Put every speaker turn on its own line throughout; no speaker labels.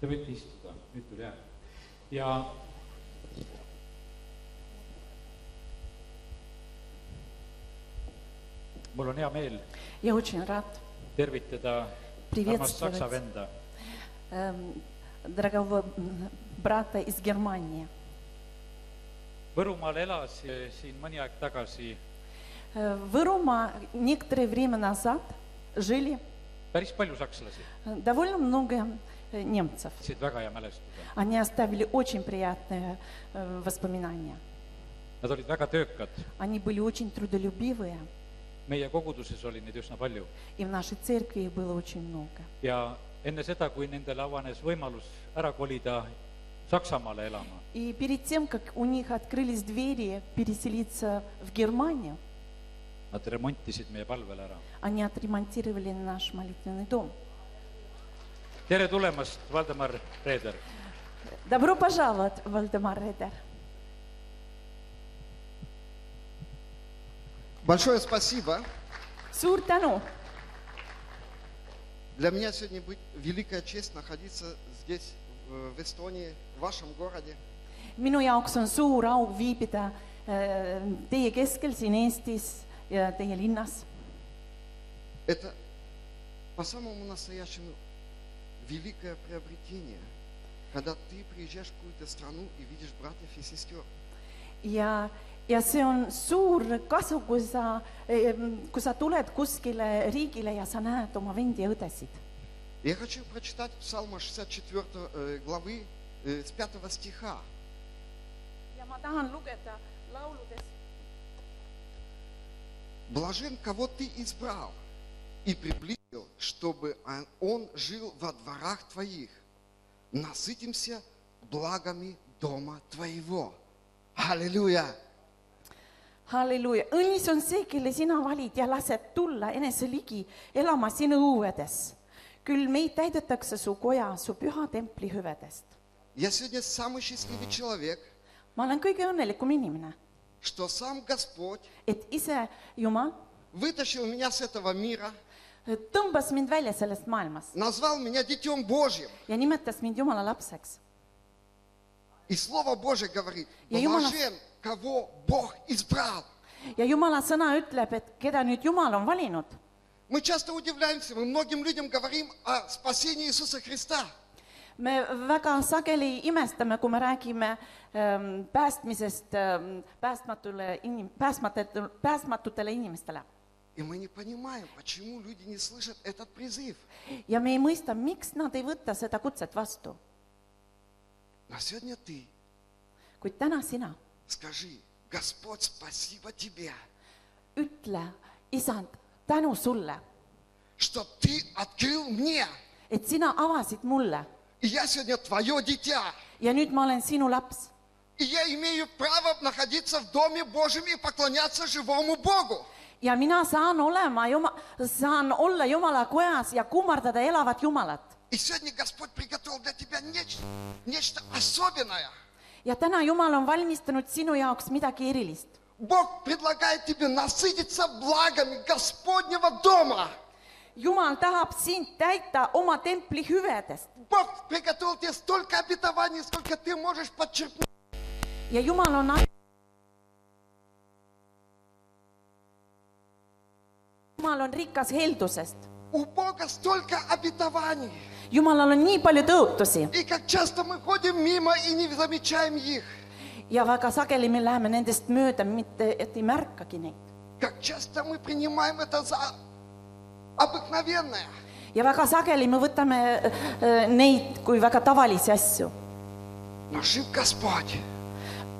Te võite istuda, nüüd tuli hääl. ja mul on hea meel
Я очень рад
tervitada armast saksa
приветствовать
venda,
эм, дорогого м, брата из Германии.
Võrumaal elas eh, siin mõni aeg tagasi
Э, В Рома некоторое время назад жили
päris palju sakslasi,
э, довольно много э, немцев.
siit väga hea mälestuse.
Они оставили очень приятные э, воспоминания.
Nad olid väga töökad,
Они были очень трудолюбивые,
meie koguduses oli neid üsna palju
и в нашей церкви их было очень много.
ja enne seda, kui nendele avanes võimalus ära kolida Saksamaale elama,
И перед тем, как у них открылись двери переселиться в Германию,
nad remontisid meie palvele ära.
они отремонтировали наш молитвенный дом.
tere tulemast , Valdemar Reeder!
Добро пожаловать, Вальдемар Редер.
Большое спасибо.
Suur tänu!
Для меня сегодня будет великая честь находиться здесь, в в Эстонии, в вашем городе.
minu jaoks on suur au viibida äh, teie keskel siin Eestis ja teie linnas.
Это по-самому настоящему великое приобретение, когда ты приезжаешь в какую-то страну и видишь братьев и сестер.
ja , ja see on suur kasu , kui sa , kui sa tuled kuskile riigile ja sa näed oma vendi ja õdesid .
Я хочу прочитать Псалма 64 э, главы э, с 5 стиха.
ja ma tahan lugeda lauludes ,
Блажен, кого ты избрал и приблизил, чтобы он- он жил во дворах твоих. Насытимся благами дома твоего. Аллилуйя!
halleluuja , õnnis on see , kelle sina valid ja lased tulla enese ligi elama sinu õuedes . küll meid täidetakse su koja , su püha templi hüvedest .
Я сегодня самый счастливый человек,
ma olen kõige õnnelikum inimene ,
что сам Господь
et ise Jumal
вытащил меня с этого мира,
tõmbas mind välja sellest maailmast
назвал меня Детем Божьим.
ja nimetas mind Jumala lapseks .
И Слово Божье говорит,
Я Юмана-
блажен, кого Бог избрал.
ja Jumala sõna ütleb , et keda nüüd Jumal on valinud .
Мы часто удивляемся, мы многим людям говорим о спасении Иисуса Христа.
me väga sageli imestame , kui me räägime ähm, päästmisest ähm, päästmatule inim- , päästmatutele , päästmatutele inimestele .
И мы не понимаем, почему люди не слышат этот призыв.
ja me ei mõista , miks nad ei võta seda kutset vastu .
Но сегодня ты
kuid täna sina
скажи, Господь, спасибо тебе,
ütle , isand , tänu sulle ,
что ты открыл мне.
et sina avasid mulle
И я сегодня твое дитя.
ja nüüd ma olen sinu laps
И я имею право находиться в Доме Божьем и поклоняться живому Богу.
ja mina saan olema Juma- , saan olla Jumala kojas ja kummardada elavat Jumalat .
И сегодня Господь приготовил для тебя нечто, нечто особенное.
ja täna Jumal on valmistanud sinu jaoks midagi erilist .
Бог предлагает тебе насытиться благами Господнего дома.
Jumal tahab sind täita oma templi hüvedest
Бог приготовил тебе столько обетований, сколько ты можешь подчеркнуть.
ja Jumal on an- Jumal on rikas heldusest ,
У Бога столько обетований.
Jumalal on nii palju tõotusi
И как часто мы ходим мимо и не замечаем их.
ja väga sageli me läheme nendest mööda , mitte et ei märkagi neid .
Как часто мы принимаем это за обыкновенное.
ja väga sageli me võtame äh, neid kui väga tavalisi asju
Но жив Господь.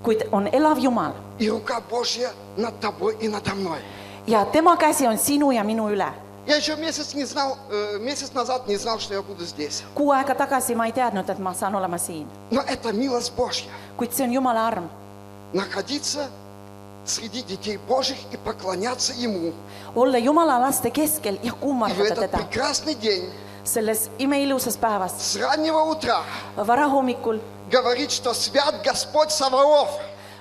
kuid on elav Jumal
И рука Божья над тобой и надо мной.
ja tema käsi on sinu ja minu üle .
Я еще месяц не знал, э, месяц назад не знал, что я буду здесь.
kuu aega tagasi ma ei teadnud , et ma saan olema siin ,
Но это милость Божья.
kuid see on Jumala arm ,
Находиться среди детей Божьих и поклоняться Ему.
olla Jumala laste keskel ja
И в
kummardada
этот
teda
прекрасный день
selles imeilusas päevas ,
с раннего утра
varahommikul ,
говорить, что свят Господь Саваоф.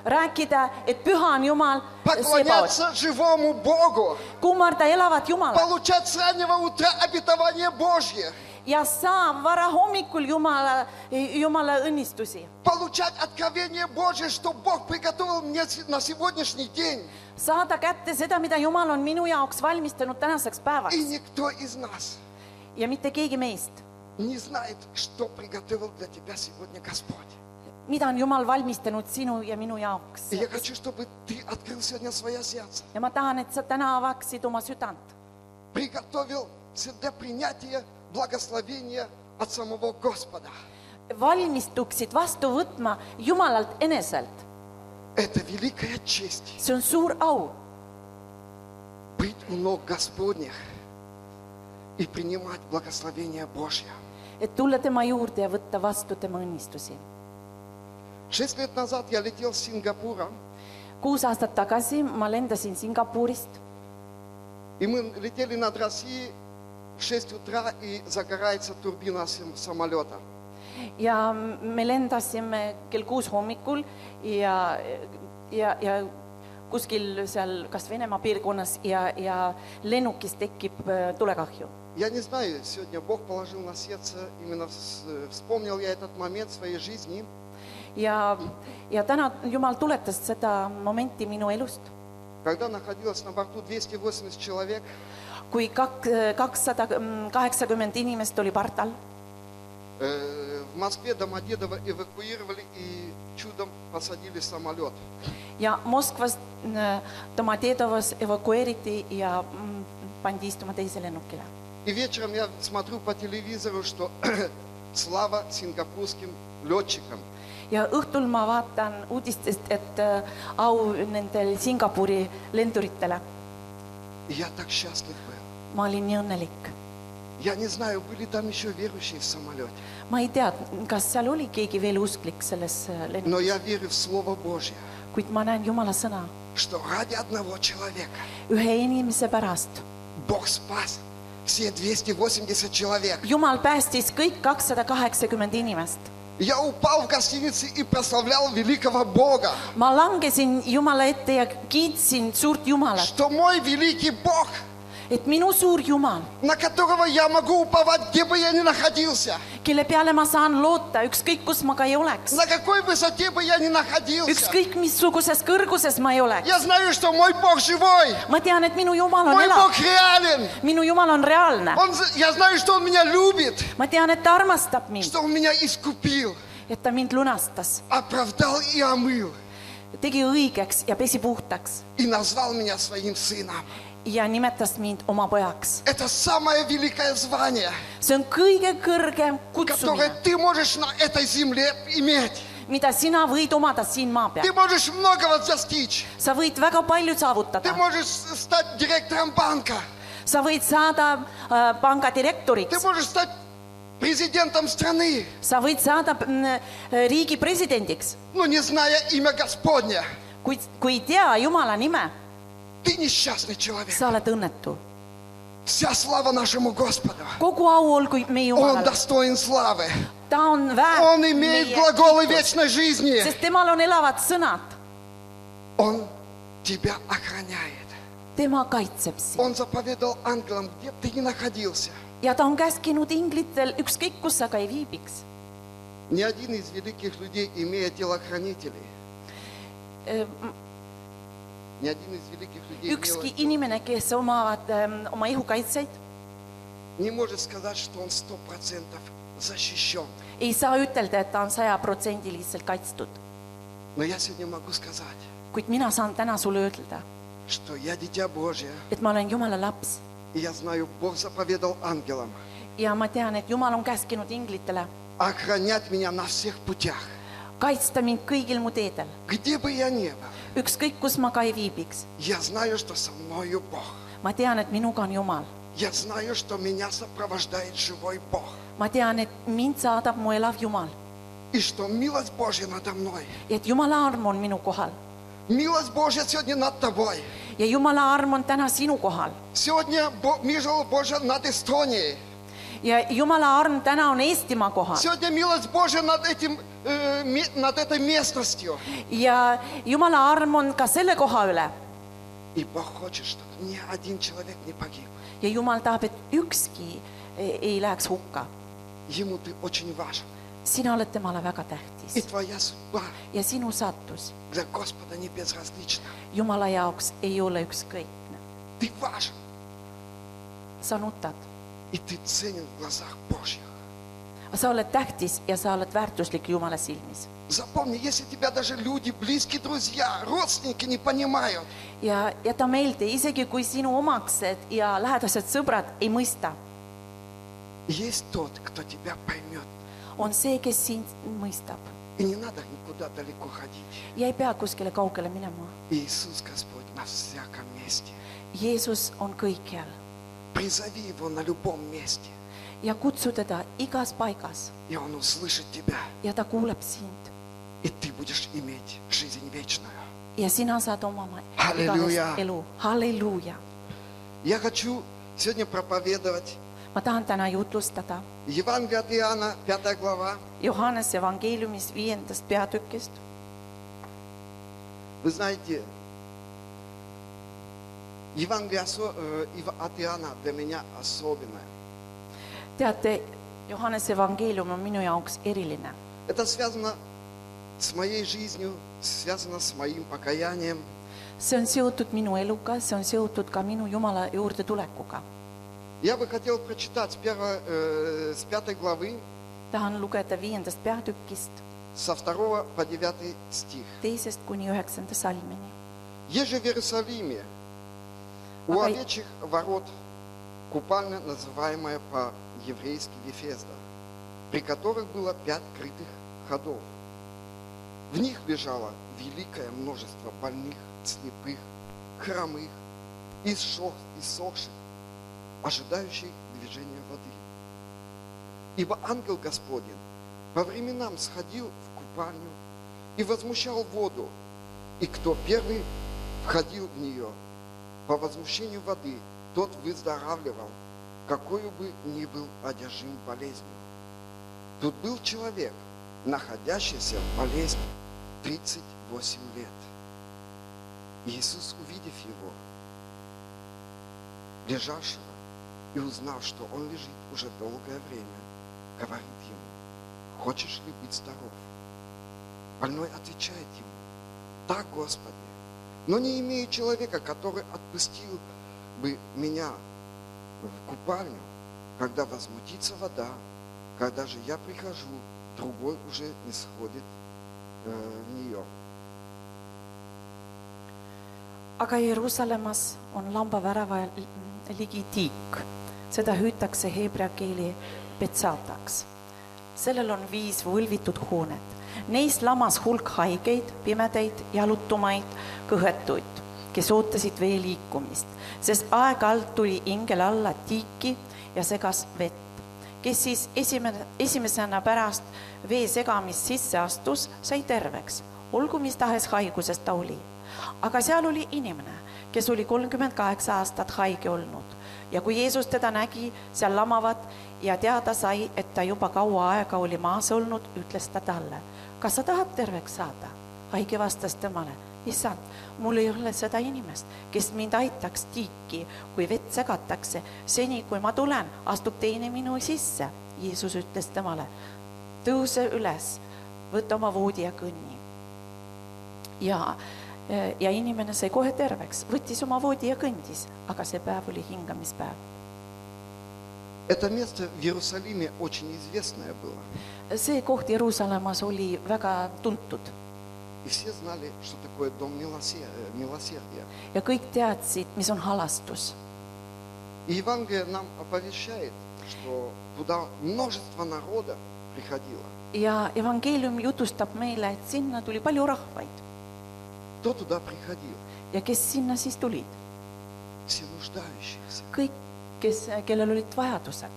rääkida , et püha on Jumal ,
поклоняться живому Богу,
kummarda elavat Jumalat
получать с раннего утра обетование Божье.
ja saa varahommikul Jumala , Jumala õnnistusi .
Получать откровение Божие, что Бог приготовил мне с- на сегодняшний день.
saada kätte seda , mida Jumal on minu jaoks valmistanud tänaseks päevaks
И никто из нас
ja mitte keegi meist ,
не знает, что приготовил для тебя сегодня Господь.
mida on Jumal valmistanud sinu ja minu jaoks
И я хочу, чтобы ты открыл сегодня свое сердце.
ja ma tahan , et sa täna avaksid oma südant
Приготовил всегда принятие благословения от самого Господа.
valmistuksid vastu võtma Jumalalt eneselt .
Это великая честь
see on suur au
быть у ног Господних и принимать благословение Божье.
et tulla tema juurde ja võtta vastu tema õnnistusi .
Шесть лет назад я летел с Сингапура,
kuus aastat tagasi ma lendasin Singapurist
и мы летели над Россией в 6 утра, и загорается турбина сам- самолета.
ja me lendasime kell kuus hommikul ja , ja , ja kuskil seal kas Venemaa piirkonnas ja , ja lennukis tekib äh, tulekahju .
Я не знаю, сегодня Бог положил на сердце, именно с- э, вспомнил я этот момент своей жизни.
ja , ja täna Jumal tuletas seda momenti minu elust ,
Когда находилось на борту 280 человек,
kui kak- , kakssada mm, kaheksakümmend inimest oli pardal
э, в Москве Домодедово эвакуировали и чудом посадили самолет.
ja Moskvast äh, Domodedovost evakueeriti ja mm, pandi istuma teise lennukile .
И вечером я смотрю по телевизору, что слава сингапурским летчикам.
ja õhtul ma vaatan uudistest , et äh, au nendel Singapuri lenduritele .
И я так счастлив был.
ma olin nii õnnelik .
Я не знаю, были там еще верующие в самолете,
ma ei tea , kas seal oli keegi veel usklik selles äh, lennukis ,
но я верю в Слово Божье,
kuid ma näen Jumala sõna
что ради одного человека
ühe inimese pärast .
Бог спас все 280 человек.
Jumal päästis kõik kakssada kaheksakümmend inimest .
Я упал в гостинице и прославлял великого Бога,
ma langesin Jumala ette ja kiitsin suurt Jumalat ,
что мой великий Бог,
et minu suur Jumal
на которого я могу уповать, где бы я ни находился,
kelle peale ma saan loota , ükskõik kus ma ka ei oleks ,
на какой высоте бы я ни находился.
ükskõik missuguses kõrguses ma ei oleks .
Я знаю, что мой Бог живой,
ma tean , et minu Jumal on
мой
elav
Бог , реален.
minu Jumal on reaalne .
Он, з- я знаю, что Он меня любит,
ma tean , et ta armastab mind ,
что Он меня искупил,
et ta mind lunastas ,
оправдал и омыл,
tegi õigeks ja pesi puhtaks
и назвал меня своим сыном.
ja nimetas mind oma pojaks .
Это самое великое звание,
see on kõige kõrgem
которое
kutsumine ,
ты можешь на этой земле иметь.
mida sina võid omada siin maa
Ты
peal .
можешь многого достичь.
sa võid väga palju
Ты
saavutada ,
можешь с- стать директором банка.
sa võid saada äh, panga
Ты
direktoriks ,
можешь стать президентом страны,
sa võid saada mm, riigi presidendiks
но не зная имя Господня.
kuid kui ei tea Jumala nime ,
Ты несчастный человек.
sa oled õnnetu .
Вся слава нашему Господу.
kogu au olgu meie
Он
Jumalale ,
достоин славы.
ta on väärt
Он имеет глаголы вечной жизни.
sest temal on elavad sõnad ,
Он тебя охраняет.
tema kaitseb sind
Он заповедал ангелам, где бы ты ни находился.
ja ta on käskinud inglitel , ükskõik kus sa ka ei viibiks .
Ни один из великих людей, имея телохранителей, ни один из великих людей
Äh, ükski
имела-
inimene , kes omavad ähm, oma ihukaitseid ,
не может сказать, что он сто процентов защищен.
ei saa ütelda , et ta on sajaprotsendiliselt kaitstud ,
Но я сегодня могу сказать,
kuid mina saan täna sulle öelda ,
что я дитя Божье,
et ma olen Jumala laps
и я знаю, Бог заповедал ангелам
ja ma tean , et Jumal on käskinud inglitele
охранять меня на всех путях,
kaitsta mind kõigil mu teedel
где бы я ни был.
ükskõik kus ma ka ei viibiks ,
Я знаю, что со мною Бог.
ma tean , et minuga on Jumal .
Я знаю, что меня сопровождает живой Бог.
ma tean , et mind saadab mu elav Jumal
И что милость Божья надо мной.
ja et Jumala arm on minu kohal
Милость Божья сегодня над тобой.
ja Jumala arm on täna sinu kohal
Сегодня Бо- милость Божья над Эстонией.
ja Jumala arm täna on Eestimaa kohal
Сегодня милость Божья над, этим, э, ме- над этой местностью.
ja Jumala arm on ka selle koha üle
И Бог хочет, чтобы ни один человек не погиб.
ja Jumal tahab , et ükski ei ei läheks hukka ,
Ему ты очень важен.
sina oled temale väga
И
tähtis
твоя судьба
ja sinu sattus
для Господа не безразлична.
Jumala jaoks ei ole ükskõikne .
Ты важен,
sa nutad ,
и ты ценен в глазах Божьих.
sa oled tähtis ja sa oled väärtuslik Jumala silmis .
Запомни, если тебя даже люди, близкие друзья, родственники не понимают,
ja jäta meelde , isegi kui sinu omaksed ja lähedased sõbrad ei mõista ,
есть тот, кто тебя поймет.
on see , kes sind mõistab
И не надо никуда далеко ходить.
ja ei pea kuskile kaugele minema .
Иисус Господь на всяком месте.
Jeesus on kõikjal
Призови Его на любом месте,
ja kutsu teda igas paigas
и Он услышит тебя,
ja ta kuuleb sind
и ты будешь иметь жизнь вечную.
ja sina saad omama
Halleluuja.
igavest elu , halleluuja .
Я хочу сегодня проповедовать
ma tahan täna jutlustada
Евангелие от Иоанна, 5 глава.
Johannese evangeeliumis viiendast peatükist
Вы знаете, Евангелие осо- э, Ива- от Иоанна для меня особенное.
teate , Johannese evangeelium on minu jaoks eriline .
Это связано с моей жизнью, связано с моим покаянием.
see on seotud minu eluga , see on seotud ka minu Jumala juurde tulekuga .
Я бы хотел прочитать с, первой, э, с пятой главы,
tahan lugeda viiendast peatükist
со второго по 9 стих.
teisest kuni üheksanda salmini .
Еже в Иерусалиме у
Ага.
овечьих ворот купальня, называемая по-еврейски Вифезда, при которых было пять крытых ходов. В них лежало великое множество больных, слепых, хромых, иссох- иссохших, ожидающих движения воды. Ибо ангел Господень по временам сходил в купальню и возмущал воду, и кто первый входил в нее по возмущению воды, тот выздоравливал, какую бы ни был одержим болезнью. Тут был человек, находящийся в болезни 38 лет. Иисус, увидев его, лежавшего, и узнав, что он лежит уже долгое время, говорит ему, хочешь ли быть здоров? Больной отвечает ему, так, Господи, но не имею человека, который отпустил бы меня в купальню, когда возмутится вода, когда же я прихожу, другой уже не сходит э, в нее.
aga Jeruusalemmas on lambavärava ligi tiik . seda hüütakse heebrea keeli betsataks . sellel on viis võlvitud hoonet . Neis lamas hulk haigeid , pimedaid , jalutumaid , kõhetuid , kes ootasid vee liikumist , sest aeg-ajalt tuli ingel alla tiiki ja segas vett . kes siis esimene , esimesena pärast vee segamist sisse astus , sai terveks , olgu mis tahes haiguses ta oli . aga seal oli inimene , kes oli kolmkümmend kaheksa aastat haige olnud ja kui Jeesus teda nägi seal lamavat ja teada sai , et ta juba kaua aega oli maas olnud , ütles ta talle , kas sa tahad terveks saada ? haige vastas temale , issand , mul ei ole seda inimest , kes mind aitaks tiiki , kui vett segatakse , seni kui ma tulen , astub teine minu sisse . Jeesus ütles temale , tõuse üles , võta oma voodi ja kõnni . ja , ja inimene sai kohe terveks , võttis oma voodi ja kõndis , aga see päev oli hingamispäev .
Это место в Иерусалиме очень известное было.
see koht Jeruusalemmas oli väga tuntud
И все знали, что такое дом милосе- э, милосердия.
ja kõik teadsid , mis on halastus
И Евангелие нам оповещает, что туда множество народа приходило.
ja evangeelium jutustab meile , et sinna tuli palju rahvaid
Кто туда приходил?
ja kes sinna siis tulid ,
Все нуждающиеся,
kõik , kes , kellel olid vajadused ,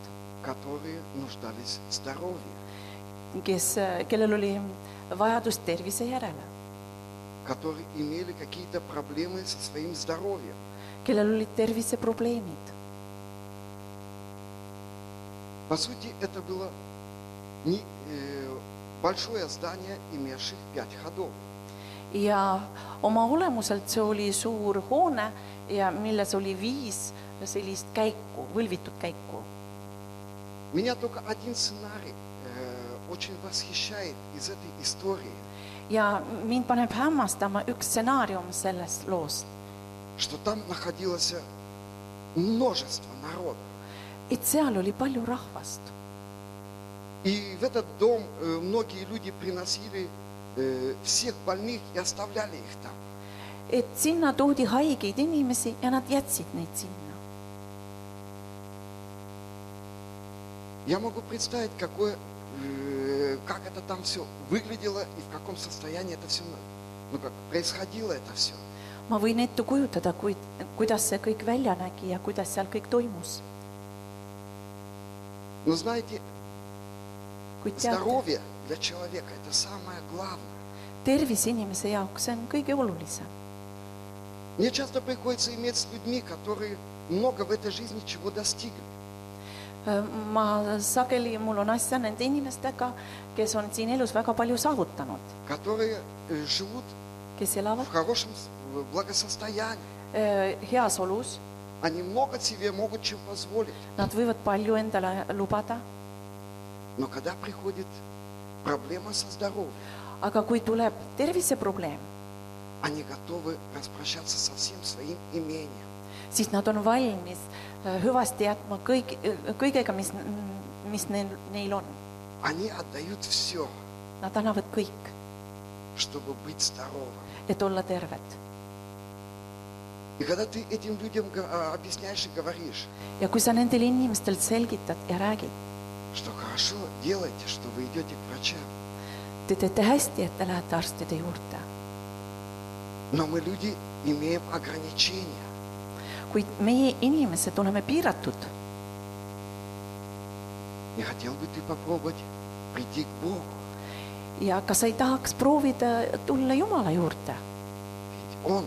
которые нуждались в здоровье.
kes , kellel oli vajadus tervise järele ,
которые имели какие-то проблемы со своим здоровьем.
kellel olid terviseprobleemid .
По сути, это было не, э, большое здание, имевших пять ходов.
ja oma olemuselt see oli suur hoone ja milles oli viis sellist käiku , võlvitud käiku
Меня только один сценарий э, очень восхищает из этой истории,
ja mind paneb hämmastama üks stsenaarium sellest loost ,
что там находилось э, множество народа.
et seal oli palju rahvast
И в этот дом э, многие люди приносили э, всех больных и оставляли их там.
et sinna toodi haigeid inimesi ja nad jätsid neid sinna .
Я могу представить, какое, э, как это там все выглядело и в каком состоянии это все ну, как происходило это все.
ma võin ette kujutada , kuid kuidas see kõik välja nägi ja kuidas seal kõik toimus ,
Но знаете,
kuid teate ,
здоровье для человека это самое главное.
tervis inimese jaoks see on kõige olulisem .
Мне часто приходится иметь с людьми, которые много в этой жизни чего достигли.
ma sageli , mul on asja nende inimestega , kes on siin elus väga palju saavutanud ,
которые э, живут
kes
в
elavad
хорошем с- в благосостоянии.
eh, heas olus ,
Они много себе могут чем позволить.
nad võivad palju endale lubada ,
Но когда приходит проблема со здоровьем,
aga kui tuleb terviseprobleem ,
они готовы распрощаться со всем своим имением.
siis nad on valmis eh, hüvasti jätma kõik , kõigega , mis , mis neil , neil on .
Они отдают все,
Nad annavad kõik ,
чтобы быть здоровым.
et olla terved
И когда ты этим людям га- а, объясняешь и говоришь,
ja kui sa nendele inimestele selgitad ja räägid ,
что хорошо делаете, что вы идете к врачам,
te teete hästi , et te lähete arstide juurde ,
но мы люди имеем ограничения.
kuid meie inimesed oleme piiratud .
Не хотел бы ты попробовать прийти к Богу?
ja kas sa ei tahaks proovida tulla Jumala juurde ,
Ведь Он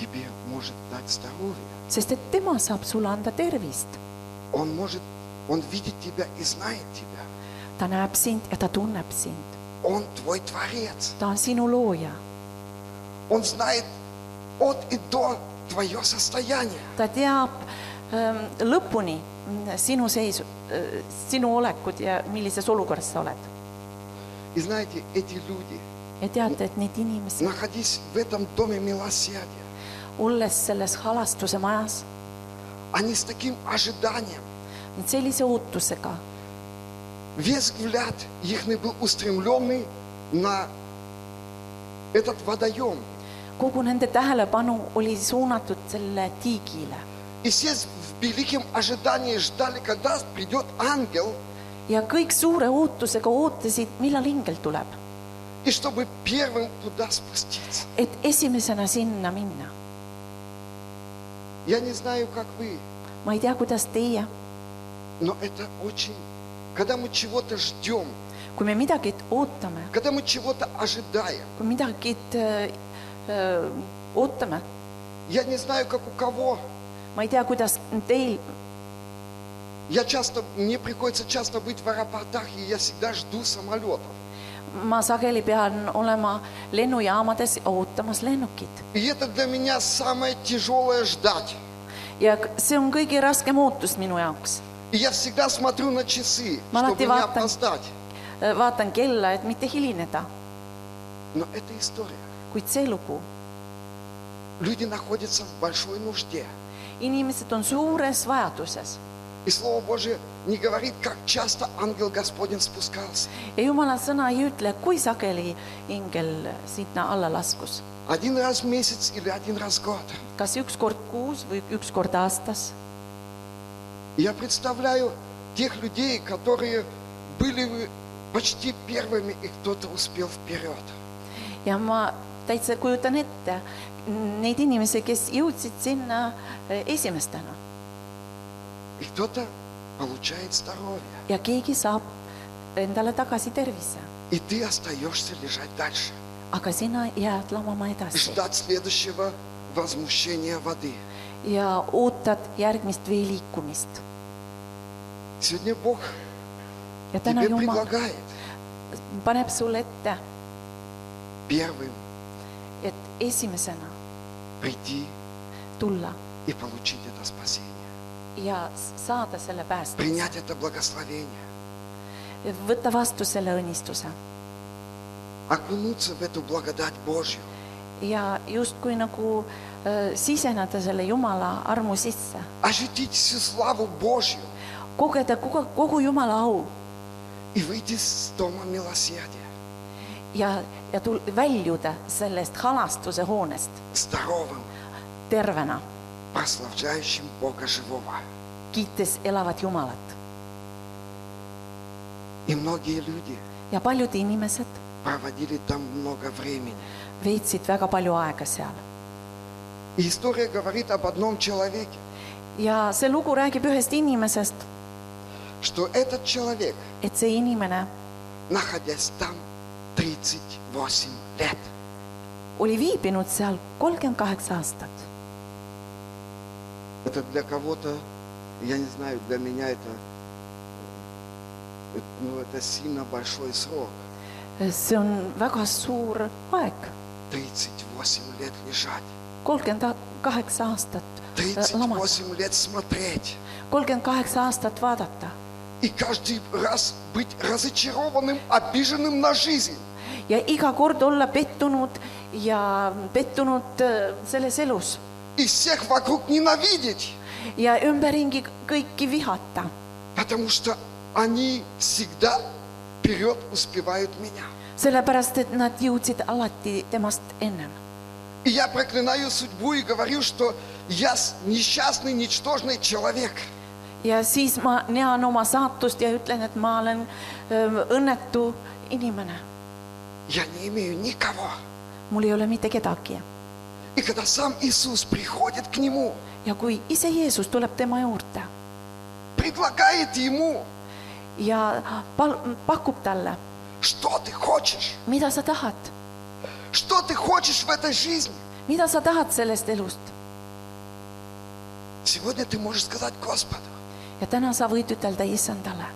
тебе может дать здоровье.
sest et tema saab sulle anda tervist .
Он может, Он видит тебя и знает тебя.
ta näeb sind ja ta tunneb sind ,
Он твой Творец.
ta on sinu looja ,
Он знает от и до твое состояние.
ta teab ähm, lõpuni mm, sinu seisu äh, , sinu olekut ja millises olukorras sa oled .
И знаете, эти люди,
ja teate , et neid inimesi ,
находясь в этом доме милосердия,
olles selles halastuse majas ,
они с таким ожиданием,
sellise ootusega
весь взгляд их был устремленный на этот водоем.
kogu nende tähelepanu oli suunatud selle tiigile
И все с великим ожиданием ждали, когда придет ангел,
ja kõik suure ootusega ootasid , millal ingel tuleb ,
и чтобы первым туда спуститься.
et esimesena sinna minna .
Я не знаю, как вы,
ma ei tea , kuidas teie ,
но это очень... Когда мы чего-то ждем,
kui me midagi ootame ,
когда мы чего-то ожидаем,
kui midagi äh, äh, ootame ,
я не знаю, как у кого,
ma ei tea , kuidas teil ,
я часто, мне приходится часто быть в аэропортах, и я всегда жду самолетов.
ma sageli pean olema lennujaamades ootamas lennukit
И это для меня самое тяжелое ждать.
ja k- see on kõige raskem ootus minu jaoks .
И я всегда смотрю на часы, чтобы
Молодцы,
не
Вахтанг.
опоздать.
vaatan kella , et mitte hilineda ,
Но это история.
kuid see lugu
Люди находятся в большой нужде.
inimesed on suures vajaduses
И Слово Божие не говорит, как часто ангел Господень спускался.
ja jumala sõna ei ütle , kui sageli ingel sinna alla laskus ,
Один раз в месяц или один раз в год.
kas üks kord kuus või üks kord aastas .
Я представляю тех людей, которые были почти первыми, и кто-то успел вперед.
ja ma täitsa kujutan ette neid inimesi , kes jõudsid sinna esimestena
И кто-то получает здоровье.
ja keegi saab endale tagasi tervise ,
И ты остаешься лежать дальше.
aga sina jääd lamama edasi
Ждать следующего возмущения воды.
ja ootad järgmist vee liikumist
Сегодня Бог
ja täna
тебе
Jumal
предлагает
paneb sulle ette ,
первым
et esimesena
прийти
tulla
и получить это спасение.
ja s- saada selle päästmise ,
принять это благословение,
võtta vastu selle õnnistuse
окунуться в эту благодать Божью,
ja justkui nagu äh, siseneda selle Jumala armu sisse ,
ощутить всю славу Божью
kogeda kogu , kogu Jumala au
и выйти с дома милосердия
ja , ja tul- , väljuda sellest halastuse hoonest
здоровым,
tervena ,
прославляющим Бога живого.
kiites elavat Jumalat .
И многие люди
ja paljud inimesed
проводили там много времени.
veetsid väga palju aega seal .
И история говорит об одном человеке,
ja see lugu räägib ühest inimesest ,
что этот человек,
et see inimene
находясь там 38 лет,
oli viibinud seal kolmkümmend kaheksa aastat .
это для кого-то, я не знаю, для меня это, э, ну, это сильно большой срок.
see on väga suur aeg ,
38 лет лежать,
Э, kolmkümmend kaheksa aastat äh, lamas ,
38 лет смотреть.
kolmkümmend kaheksa aastat vaadata
И каждый раз быть разочарованным, обиженным на жизнь.
ja iga kord olla pettunud ja pettunud äh, selles elus
И всех вокруг ненавидеть.
ja ümberringi kõiki vihata ,
Потому что они всегда вперед успевают меня.
sellepärast et nad jõudsid alati temast ennem .
И я проклинаю судьбу и говорю, что я с- несчастный, ничтожный человек.
ja siis ma näen oma saatust ja ütlen , et ma olen öö, õnnetu inimene ,
Я не имею никого.
mul ei ole mitte kedagi .
И когда сам Иисус приходит к нему,
ja kui ise Jeesus tuleb tema juurde
предлагает ему,
ja pal- , pakub talle ,
что ты хочешь,
mida sa tahad ,
что ты хочешь в этой жизни.
mida sa tahad sellest elust
Сегодня ты можешь сказать Господу,
ja täna sa võid ütelda Issandale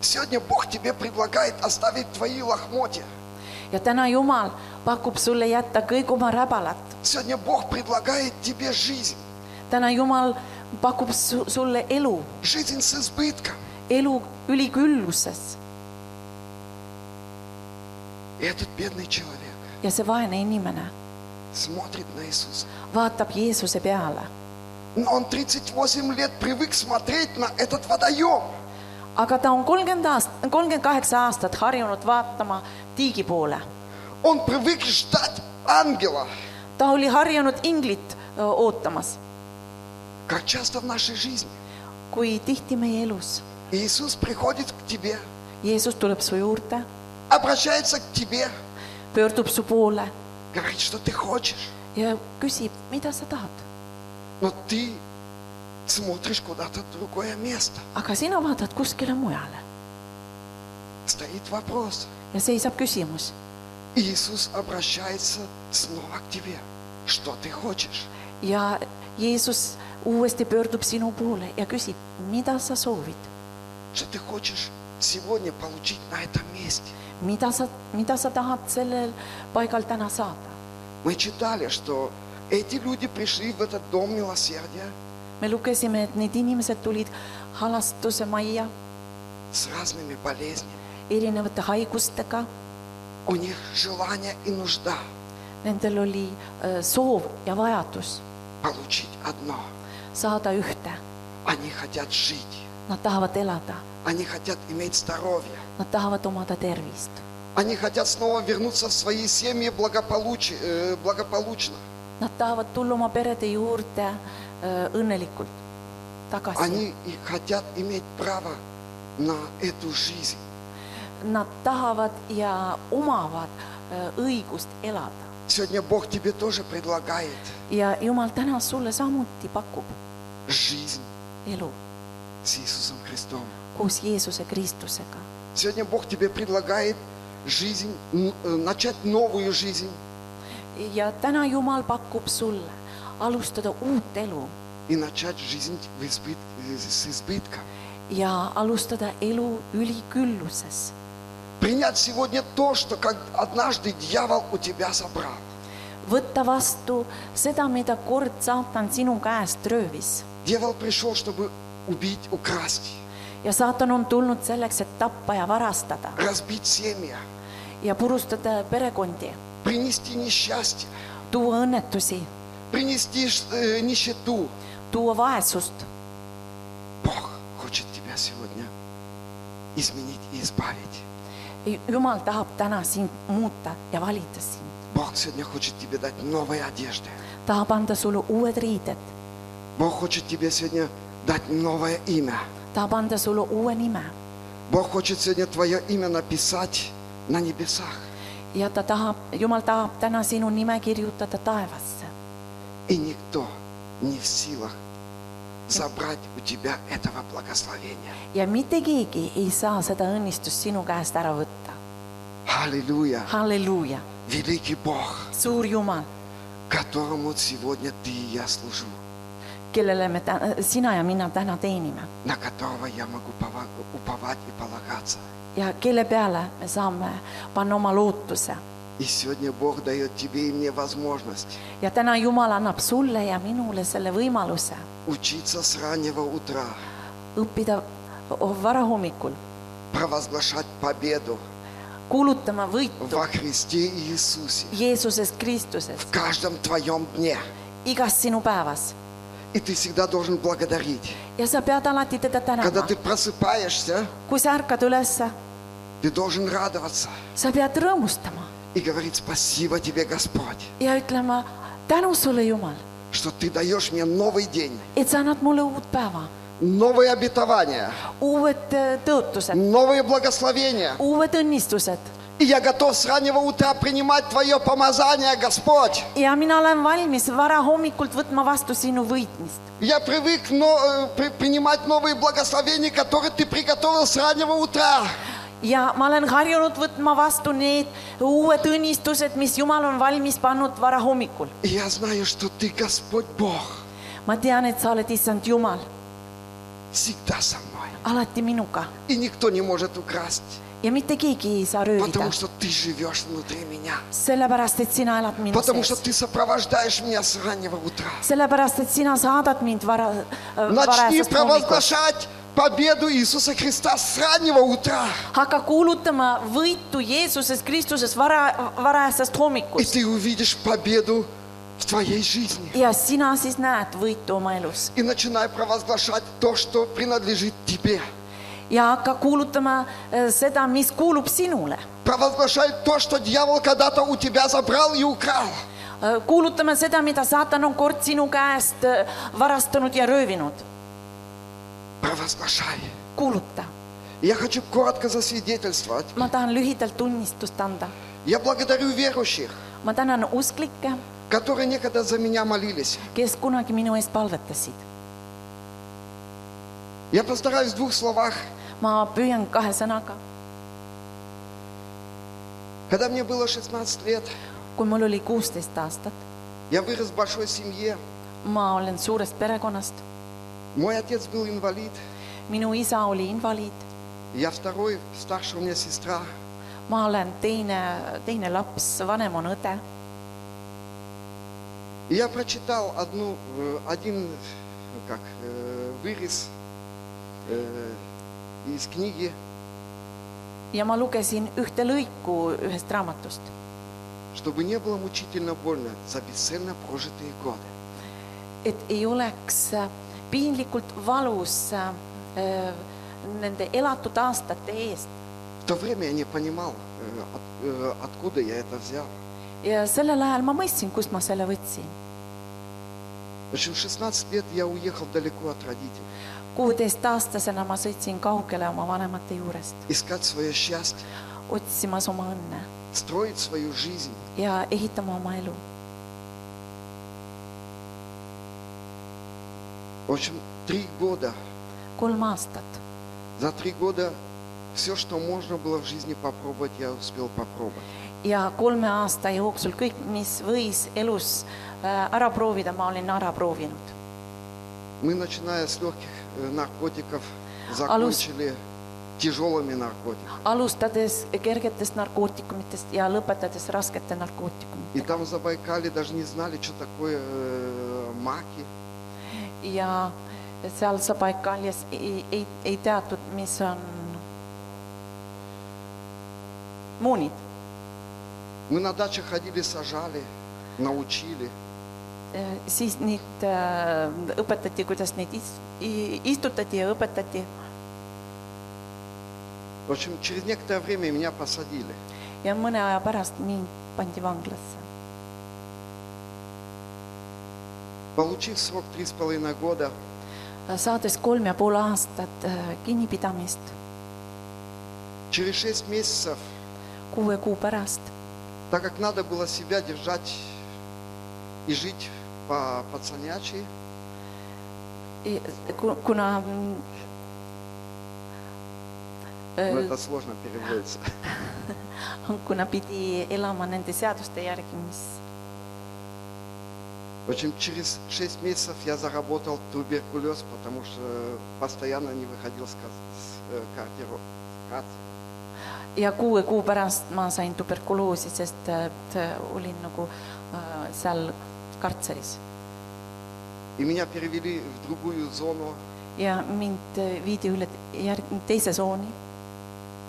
сегодня Бог тебе предлагает оставить твои лохмотья.
ja täna Jumal pakub sulle jätta kõik oma räbalad .
Сегодня Бог предлагает тебе жизнь,
täna Jumal pakub su sulle elu ,
жизнь с избытком.
elu ülikülluses
И этот бедный человек
ja see vaene inimene
смотрит на Иисуса.
vaatab Jeesuse peale ,
Но он 38 лет привык смотреть на этот водоем.
aga ta on kolmkümmend aast- , kolmkümmend kaheksa aastat harjunud vaatama tiigi poole .
Он привык ждать ангела.
ta oli harjunud inglit öö, ootamas ,
Как часто в нашей жизни
kui tihti meie elus
Иисус приходит к тебе,
Jeesus tuleb su juurde ,
обращается к тебе,
pöördub su poole
говорит, что ты хочешь,
ja küsib , mida sa tahad ,
но ты смотришь куда-то в другое место.
aga sina vaatad kuskile mujale
Стоит вопрос.
ja seisab küsimus
И Иисус обращается снова к тебе. Что ты хочешь?
ja Jeesus uuesti pöördub sinu poole ja küsib , mida sa soovid ,
Что ты хочешь сегодня получить на этом месте?
mida sa , mida sa tahad sellel paigal täna saada .
Мы читали, что эти люди пришли в этот дом милосердия
me lugesime , et need inimesed tulid halastuse majja
с разными болезнями.
erinevate haigustega ,
У них желание и нужда
nendel oli äh, soov ja vajadus
получить одно.
saada ühte ,
Они хотят жить.
nad tahavad elada ,
Они хотят иметь здоровье.
nad tahavad omada tervist ,
Они хотят снова вернуться в свои семьи благополучи- э, благополучно.
nad tahavad tulla oma perede juurde äh, õnnelikult tagasi ,
Они и хотят иметь право на эту жизнь.
nad tahavad ja omavad äh, õigust elada .
Сегодня Бог тебе тоже предлагает
ja Jumal täna sulle samuti pakub
жизнь
elu
с Иисусом Христом.
koos Jeesuse Kristusega .
Сегодня Бог тебе предлагает жизнь, н- э, начать новую жизнь
ja täna Jumal pakub sulle alustada uut elu
и начать жизнь в избыт- э, с избытком.
ja alustada elu ülikülluses .
Принять сегодня то, что как однажды дьявол у тебя забрал.
võtta vastu seda , mida kord saatan sinu käest röövis .
Дьявол пришел, чтобы убить, украсть,
ja saatan on tulnud selleks , et tappa ja varastada
разбить семья,
ja purustada perekondi ,
принести несчастье,
tuua õnnetusi ,
принести э, нищету.
tuua vaesust .
Бог хочет тебя сегодня изменить и избавить.
jumal tahab täna sind muuta ja valida sind ,
Бог сегодня хочет тебе дать новые одежды.
tahab anda sulle uued riided ,
Бог хочет тебе сегодня дать новое имя.
tahab anda sulle uue nime
Бог хочет сегодня твое имя написать на небесах.
ja ta tahab , jumal tahab täna sinu nime kirjutada taevasse
И никто не в силах забрать у тебя этого благословения.
ja mitte keegi ei saa seda õnnistust sinu käest ära võtta .
Аллилуйя!
halleluuja ,
Великий Бог,
suur Jumal ,
которому сегодня ты и я служу,
kellele me täna , sina ja mina täna teenime
на которого я могу пова- уповать и полагаться.
ja kelle peale me saame panna oma lootuse
И сегодня Бог дает тебе и мне возможность
ja täna Jumal annab sulle ja minule selle võimaluse
учиться с раннего утра,
õppida varahommikul ,
провозглашать победу
kuulutama võitu
во Христе Иисусе
Jeesuses Kristuses
в каждом твоем дне.
igas sinu päevas
И ты всегда должен благодарить.
ja sa pead alati teda
Когда
tänama
ты . просыпаешься,
kui sa ärkad ülesse ,
ты должен радоваться
sa pead rõõmustama
и говорить спасибо тебе, Господь,
ja ütlema tänu sulle , Jumal ,
что ты даешь мне новый день,
et sa annad mulle uut päeva ,
новые обетования,
uued eh, tõotused ,
новые благословения.
uued õnnistused
И я готов с раннего утра принимать твое помазание, Господь.
ja mina olen valmis varahommikult võtma vastu сину võitmist .
Я привык но- э, при- принимать новые благословения, которые ты приготовил с раннего утра.
ja ma olen harjunud võtma vastu need uued õnnistused , mis Jumal on valmis pannud varahommikul .
И я знаю, что ты, Господь Бог,
ma tean , et sa oled issand Jumal ,
всегда со мной.
alati minuga
И никто не может украсть,
ja mitte keegi ei saa röövida
потому , что ты живешь внутри меня.
sellepärast et sina elad minu
Потому что
sees .
ты сопровождаешь меня с раннего утра.
sellepärast , et sina saadad mind vara , äh,
Начни
varajasest hommikust .
провозглашать победу Иисуса Христа с раннего утра.
hakka kuulutama võitu Jeesuses Kristuses vara , varajasest
И
hommikust
ты увидишь победу в твоей жизни.
ja sina siis näed võitu oma elus
И начинай провозглашать то, что принадлежит тебе.
ja hakka kuulutama äh, seda , mis kuulub sinule .
Провозглашай то, что дьявол когда-то у тебя забрал и украл.
Äh, kuulutama seda , mida saatan on kord sinu käest äh, varastanud ja röövinud .
Провозглашай.
kuuluta ,
Я хочу коротко засвидетельствовать.
ma tahan lühidalt tunnistust anda .
Я благодарю верующих,
ma tänan usklikke ,
которые некогда за меня молились.
kes kunagi minu eest palvetasid .
Я постараюсь в двух словах.
ma püüan kahe sõnaga ,
Когда мне было 16 лет,
kui mul oli kuusteist aastat ,
я вырос в большой семье.
ma olen suurest perekonnast
Мой отец был инвалид.
minu isa oli invaliid ,
Я второй, старше у меня сестра.
ma olen teine , teine laps , vanem on õde
И я прочитал одну, э, один ну как, э, вырез э, из книги,
ja ma lugesin ühte lõiku ühest raamatust ,
чтобы не было мучительно больно за бесцельно прожитые годы.
et ei oleks äh, piinlikult valus äh, äh, nende elatud aastate eest
В то время я не понимал, э, от- э, откуда я это взял.
ja sellel ajal ma mõistsin , kust ma selle võtsin .
В общем, в 16 лет я уехал далеко от родителей,
kuueteistaastasena ma sõitsin kaugele oma vanemate juurest ,
искать свое счастье,
otsimas oma õnne
строить свою жизнь.
ja ehitama oma elu .
В общем, три года.
kolm aastat
За три года все, что можно было в жизни попробовать, я успел попробовать.
ja kolme aasta jooksul kõik , mis võis elus äh, ära proovida , ma olin ära proovinud .
Мы, начиная с легких э, наркотиков, закончили тяжелыми наркотиками.
alustades kergetest narkootikumitest ja lõpetades raskete narkootikumitega
И там в Забайкале даже не знали, что такое э, маки.
ja sealse paika alles ei, ei , ei teatud , mis on muunid .
Мы на даче ходили, сажали, научили.
siis neid äh, õpetati , kuidas neid is- i- istutati ja õpetati
В общем, через некоторое время меня посадили.
ja mõne aja pärast mind pandi vanglasse .
Получив срок три с половиной года,
saades kolm ja pool aastat äh, kinnipidamist
через шесть месяцев,
kuue kuu pärast ,
так как надо было себя держать и жить по пацанячьи,
kuna mm,
но
äh,
это сложно переводится.
kuna pidi elama nende seaduste järgi , mis
В общем, через шесть месяцев я заработал туберкулез, потому что постоянно не выходил с, ка- с, э, кардио- с кар-
ja kuue kuu pärast ma sain tuberkuloosi , sest et äh, olin nagu äh, seal kartseris
И меня перевели в другую зону,
ja mind äh, viidi üle järg- , teise tsooni ,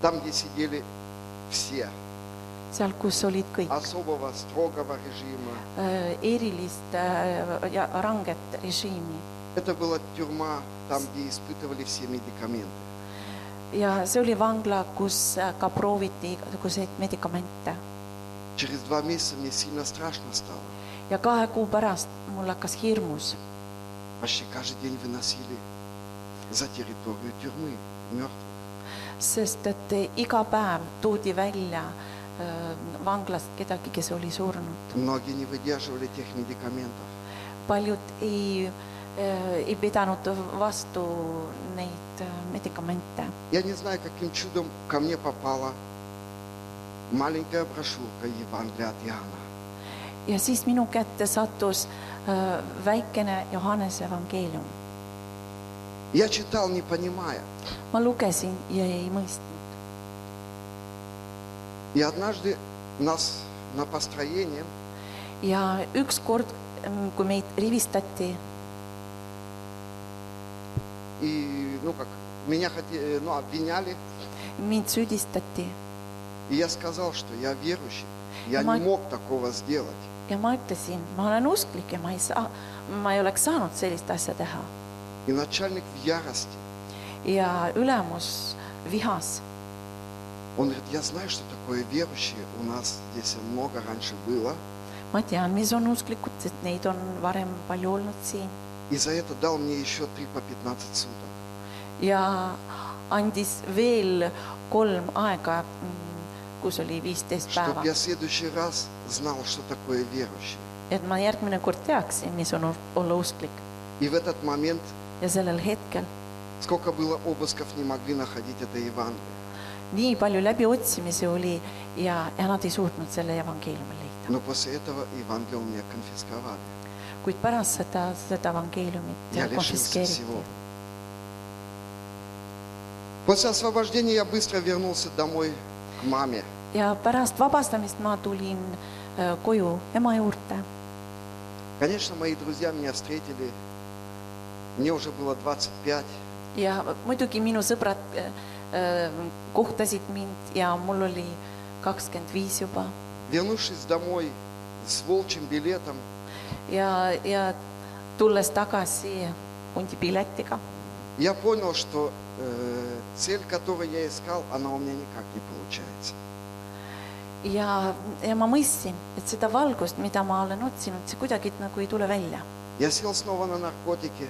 там, где сидели все,
seal , kus olid kõik
Ah, особого строгого режима.
äh, erilist äh, ja ranget režiimi
Это была тюрьма, там, где испытывали все медикаменты.
ja see oli vangla , kus äh, ka prooviti igasuguseid medikamente
Через два месяца мне сильно страшно стало.
ja kahe kuu pärast mul hakkas hirmus ,
Почти каждый день выносили за территорию тюрьмы мертвых.
sest et iga päev toodi välja äh, vanglast kedagi , kes oli surnud .
Многие не выдерживали тех медикаментов.
paljud ei , ei pidanud vastu neid äh, medikamente .
Я не знаю, каким чудом ко мне попала маленькая брошюрка Евангелия от Иоанна.
ja siis minu kätte sattus äh, väikene Johannese evangeelium .
Я читал, не понимая.
ma lugesin ja ei mõistnud .
И однажды нас на построение
ja ükskord , kui meid rivistati
и, ну как, меня хотели, ну, обвиняли.
mind süüdistati
И я сказал, что я верующий. Я
Ма-
не мог такого сделать.
ja ma ütlesin , ma olen usklik ja ma ei saa , ma ei oleks saanud sellist asja teha .
И начальник в ярости.
ja ülemus vihas
Он говорит, я знаю, что такое верующие. У нас здесь много раньше было.
ma tean , mis on usklikud , sest neid on varem palju olnud siin
И за это дал мне еще три по 15 суток.
ja andis veel kolm aega , kus oli viisteist päeva
Чтобы , я в следующий раз знал, что такое верующий.
et ma järgmine kord teaksin , mis on u- olla usklik
И в этот момент,
ja sellel hetkel
сколько было обысков, не могли находить это Евангелие.
nii palju läbiotsimisi oli ja , ja nad ei suutnud selle evangeeliumi leida ,
Но после этого Евангелие у меня конфисковали.
kuid pärast seda , seda evangeeliumit
Я лишился
konfiskeeriti
всего. После освобождения я быстро вернулся домой к маме.
ja pärast vabastamist ma tulin äh, koju ema juurde .
Конечно, мои друзья меня встретили. Мне уже было 25.
ja muidugi minu sõbrad äh, äh, kohtasid mind ja mul oli kakskümmend viis juba
Вернувшись домой с волчьим билетом,
ja , ja tulles tagasi hundipiletiga ,
я понял, что э, цель, которую я искал, она у меня никак не получается.
ja , ja ma mõistsin , et seda valgust , mida ma olen otsinud , see kuidagi nagu ei tule välja .
Я сел снова на наркотики.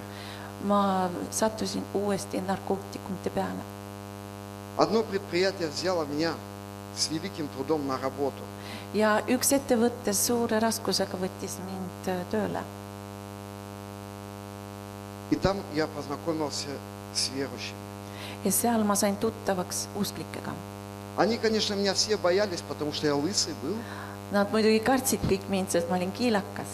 ma sattusin uuesti narkootikumide peale .
Одно предприятие взяло меня с великим трудом на работу.
ja üks ettevõte suure raskusega võttis mind äh, tööle
И там я познакомился с верующими.
ja seal ma sain tuttavaks usklikega .
Они, конечно, меня все боялись, потому что я лысый был.
Nad muidugi kartsid kõik mind , sest ma olin kiilakas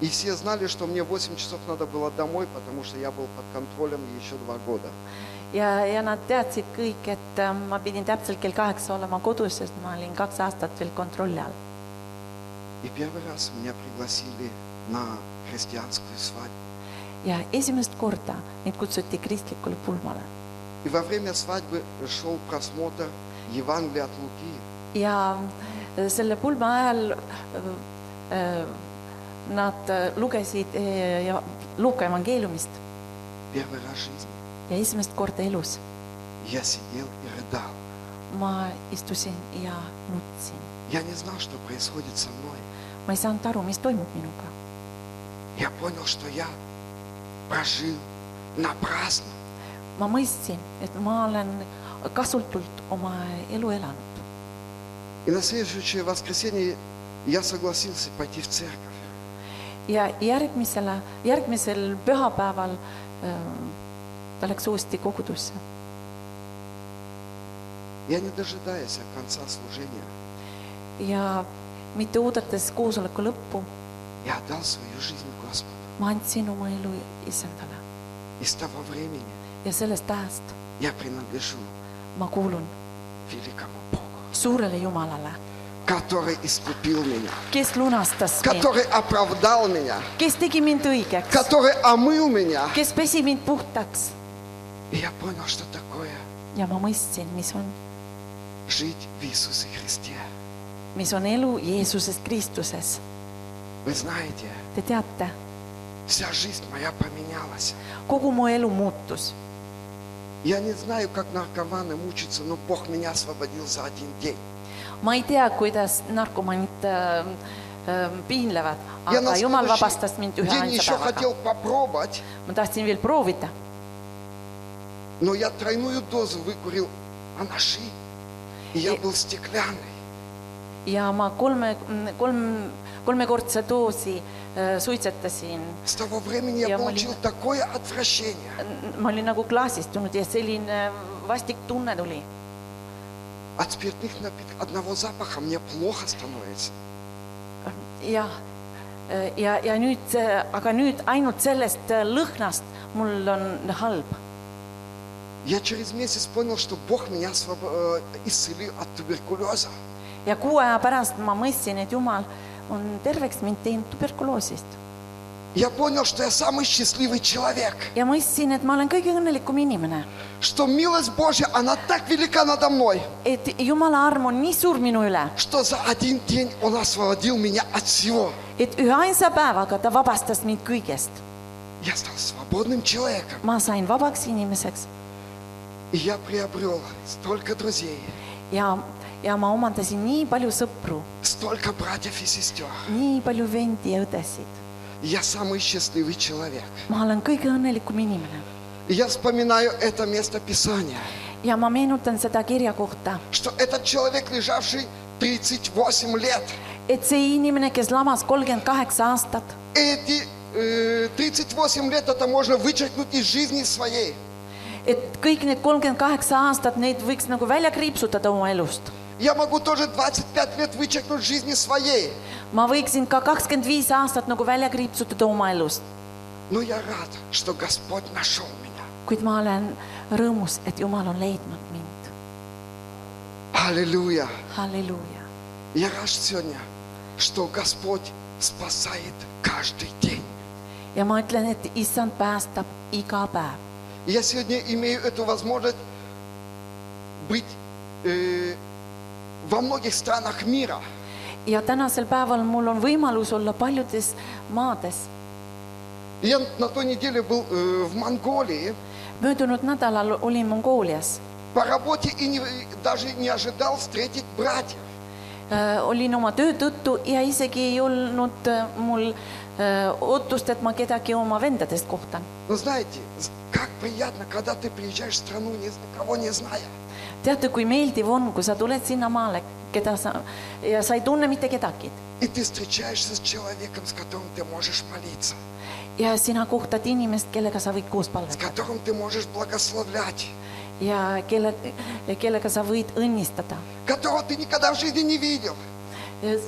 И все знали, что мне 8 часов надо было домой, потому что я был под контролем еще два года.
ja , ja nad teadsid kõik , et äh, ma pidin täpselt kell kaheksa olema kodus , sest ma olin kaks aastat veel kontrolli all .
И первый раз меня пригласили на христианскую свадьбу.
ja esimest korda neid kutsuti kristlikule pulmale
И во время свадьбы шел просмотр Евангелия от Луки.
ja äh, selle pulma ajal äh, nad lugesid äh, ja- Luuka evangeeliumist
Первый раз в жизни
ja esimest korda elus
я сидел и рыдал.
ma istusin ja nutsin .
Я не знал, что происходит со мной.
ma ei saanud aru , mis toimub minuga .
Я понял, что я прожил напрасно.
ma mõistsin , et ma olen kasutult oma elu elanud
И на следующее воскресенье я согласился пойти в церковь.
ja järgmisele , järgmisel pühapäeval ähm, ta läks uuesti kogudusse .
Я не дожидаясь конца служения,
ja mitte oodates koosoleku lõppu ,
я отдал свою жизнь Господу.
ma andsin oma elu issandale
И с того времени
ja sellest ajast
я принадлежу
ma kuulun
великому Богу,
suurele Jumalale ,
который искупил меня,
kes lunastas mind ,
который оправдал меня,
kes tegi mind õigeks ,
который омыл меня.
kes pesi mind puhtaks
И я понял, что такое
ja ma mõistsin , mis on ,
жить в Иисусе Христе.
mis on elu Jeesuses Kristuses .
Вы знаете,
Te teate ,
вся жизнь моя поменялась.
kogu mu elu muutus
Я не знаю, как наркоманы мучаются, но Бог меня освободил за один день.
ma ei tea , kuidas narkomaanid äh, äh, piinlevad ,
Я на
aga jumal
следующий
vabastas mind ühe
день еще
ainsa päevaga .
хотел попробовать,
ma tahtsin veel proovida ,
но я тройную дозу выкурил анаши. И я
И-
был стеклянный.
ja ma kolme , kolm , kolmekordse doosi äh, suitsetasin .
С того времени я
Я
получил
молила.
такое отвращение
ma olin nagu klaasistunud ja selline vastik tunne tuli .
от спиртных напитков. Одного запаха мне плохо становится.
jah , ja , ja nüüd , aga nüüd ainult sellest äh, lõhnast mul on halb .
Я через месяц понял, что Бог меня освоб- э, исцелил от туберкулеза.
ja kuu aja pärast ma mõistsin , et jumal on terveks mind teinud tuberkuloosist
Я понял, что я самый счастливый человек.
ja mõistsin , et ma olen kõige õnnelikum inimene ,
Что милость Божья, она так велика надо мной,
et Jumala arm on nii suur minu üle ,
что за один день Он освободил меня от всего.
et üheainsa päevaga ta vabastas mind kõigest .
Я стал свободным человеком.
ma sain vabaks inimeseks
И я приобрел столько друзей,
ja , ja ma omandasin nii palju sõpru ,
столько братьев и сестер.
nii palju vendi ja õdesid .
Я самый счастливый человек.
ma olen kõige õnnelikum inimene
И я вспоминаю это место Писания,
ja ma meenutan seda kirja kohta ,
что этот человек, лежавший 38 лет,
et see inimene , kes lamas kolmkümmend kaheksa aastat ,
эти э, 38 лет это можно вычеркнуть из жизни своей.
et kõik need kolmkümmend kaheksa aastat , neid võiks nagu välja kriipsutada oma elust .
Я могу тоже 25 лет вычеркнуть жизни своей.
ma võiksin ka kakskümmend viis aastat nagu välja kriipsutada oma elust
Но я рад, что Господь нашел меня.
kuid ma olen rõõmus , et Jumal on leidnud mind .
Аллилуйя.
halleluuja .
Я рад сегодня, что Господь спасает каждый день.
ja ma ütlen , et issand päästab iga päev
Я сегодня имею эту возможность быть э, во многих странах мира.
ja tänasel päeval mul on võimalus olla paljudes maades .
Я на той неделе был э, в Монголии
möödunud nädalal olin Mongoolias ,
по работе и не- и даже не ожидал встретить братьев.
Äh, olin oma töö tõttu ja isegi ei olnud äh, mul äh, ootust , et ma kedagi oma vendadest kohtan .
Но знаете, з- как приятно, когда ты приезжаешь в страну, ни- никого не зная.
teate , kui meeldiv on , kui sa tuled sinnamaale , keda sa ja sa ei tunne mitte kedagi
И ты встречаешься с человеком, с которым ты можешь молиться,
ja sina kohtad inimest , kellega sa võid koos
с
palvetada .
которым ты можешь благословлять,
ja kelle , kellega sa võid õnnistada .
которого ты никогда в жизни не видел.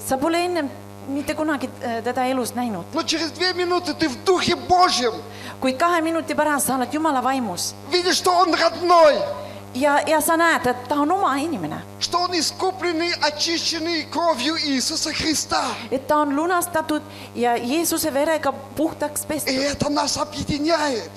sa pole ennem mitte kunagi äh, teda elus näinud ,
Но через две минуты ты в Духе Божьем
kuid kahe minuti pärast sa oled Jumala vaimus
видишь, что Он родной,
ja , ja sa näed , et ta on oma inimene ,
что он искупленный, очищенный кровью Иисуса Христа.
et ta on lunastatud ja Jeesuse verega puhtaks
И
pestud
это нас объединяет.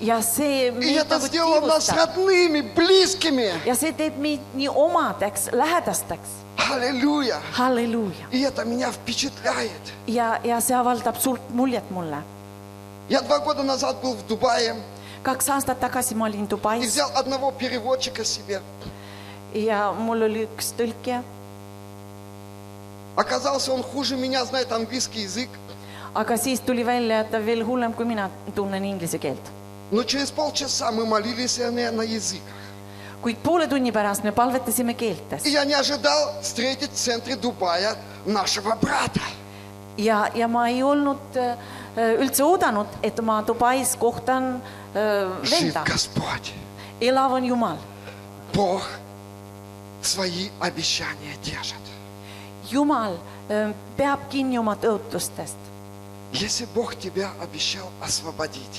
ja see
И
meid
это
nagu
сделало нас
tiivustab
родными, близкими.
ja see teeb meid nii omadeks , lähedasteks ,
Аллилуйя.
halleluuja .
И это меня впечатляет.
ja , ja see avaldab suurt muljet mulle .
Я два года назад был в Дубае
kaks aastat tagasi ma olin
и
Dubais
взял одного переводчика себе.
ja mul oli üks tõlkija ,
Оказался, он хуже меня знает английский язык.
aga siis tuli välja , et ta veel hullem kui mina tunnen inglise keelt .
Но через полчаса мы молились э, на на языках.
kuid poole tunni pärast me palvetasime keeltes
И я не ожидал встретить в центре Дубая нашего брата.
ja , ja ma ei olnud äh, üldse oodanud , et ma Dubais kohtan äh,
Жив
venda ,
Господь.
elav on Jumal .
Бог свои обещания держит.
Jumal äh, peab kinni oma tõotustest .
Если Бог тебя обещал освободить,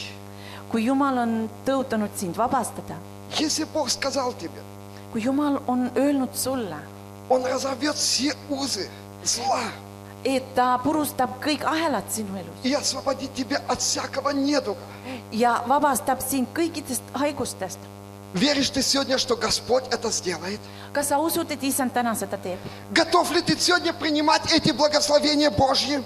kui Jumal on tõotanud sind vabastada ,
если Бог сказал тебе,
kui Jumal on öelnud sulle ,
Он разорвет все узы зла
et ta purustab kõik ahelad sinu elus
и освободит тебя от всякого недуга.
ja vabastab sind kõikidest haigustest ,
Веришь ты сегодня, что Господь это сделает?
kas sa usud , et issand täna seda teeb ?
Готов ли ты сегодня принимать эти благословения Божьи?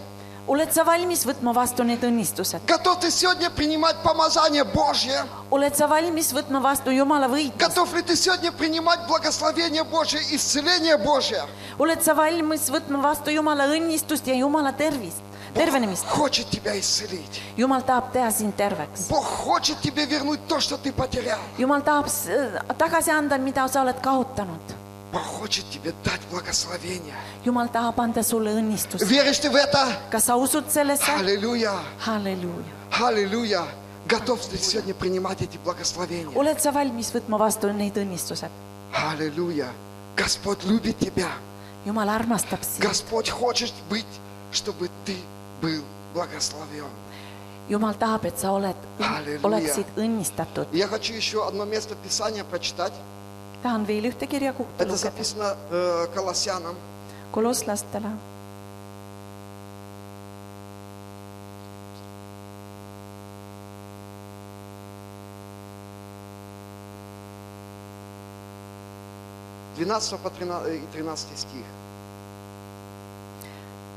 oled sa valmis võtma vastu need õnnistused ?
Готов ты сегодня принимать помазание Божье?
oled sa valmis võtma vastu Jumala võitlust ?
Готов ли ты сегодня принимать благословение Божье, исцеление Божье?
oled sa valmis võtma vastu Jumala õnnistust ja Jumala tervist , tervenemist ?
Хочет тебя исцелить.
Jumal tahab teha sind terveks .
Бог хочет тебе вернуть то, что ты потерял.
Jumal tahab s- äh, tagasi anda , mida sa oled kaotanud .
Бог хочет тебе дать благословение.
Jumal tahab anda sulle õnnistust .
Веришь ты в это?
kas sa usud sellesse ?
Аллилуйя!
halleluuja .
Аллилуйя! Готов ты сегодня принимать эти благословения?
oled sa valmis võtma vastu neid õnnistused ?
Аллилуйя! Господь любит тебя.
Jumal armastab sind ,
Господь хочет быть, чтобы ты был благословен.
Jumal tahab , et sa oled ,
Halleluuja.
oleksid õnnistatud .
Я хочу еще одно место Писания прочитать.
tahan veel ühte kirja kokku
Это
lugeda
записано э, Колоссянам.
kolosslastele ,
12 по 13, и 13 стих.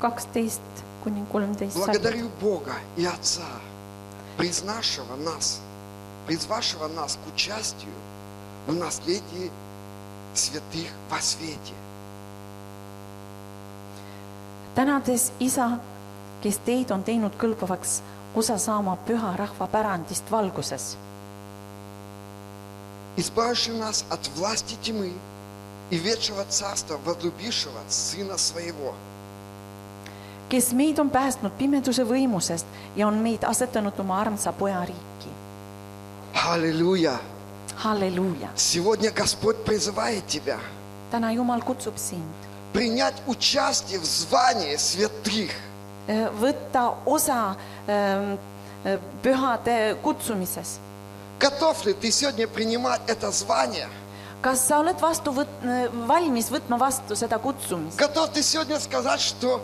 kaksteist kuni kolmteist salm .
Благодарю Бога и Отца, признавшего нас, призвавшего нас к участию в наследии святых во свете.
tänades Isa , kes teid on teinud kõlbavaks osa saama püha rahva pärandist valguses ,
избавивший нас от власти тьмы и вечного царства, возлюбившего Сына Своего.
kes meid on päästnud pimeduse võimusest ja on meid asetanud oma armsa poja riiki .
Аллилуйя!
halleluuja ,
Сегодня Господь призывает тебя
täna Jumal kutsub sind
принять участие в звании святых.
äh, võtta osa ähm, äh, pühade kutsumises .
Готов ли ты сегодня принимать это звание?
kas sa oled vastu võt- , valmis võtma vastu seda kutsumist ?
Готов ты сегодня сказать, что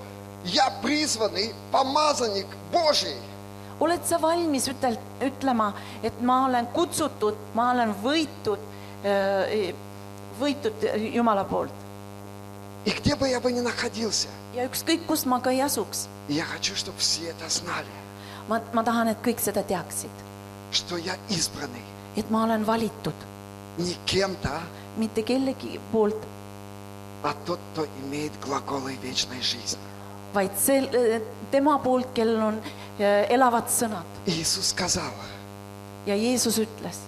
я призванный помазанник Божий?
oled sa valmis ütel- , ütlema , et ma olen kutsutud , ma olen võitud , võitud Jumala poolt
И где бы я бы ни находился,
ja ükskõik , kus ma ka ei asuks ,
я хочу, чтобы все это знали,
ma , ma tahan , et kõik seda teaksid ,
что я избранный
et ma olen valitud
не кем-то,
mitte kellegi poolt ,
а тот, кто имеет глаголы вечной жизни.
vaid sel- , tema poolt , kellel on äh, elavad sõnad
Иисус сказал,
ja Jeesus ütles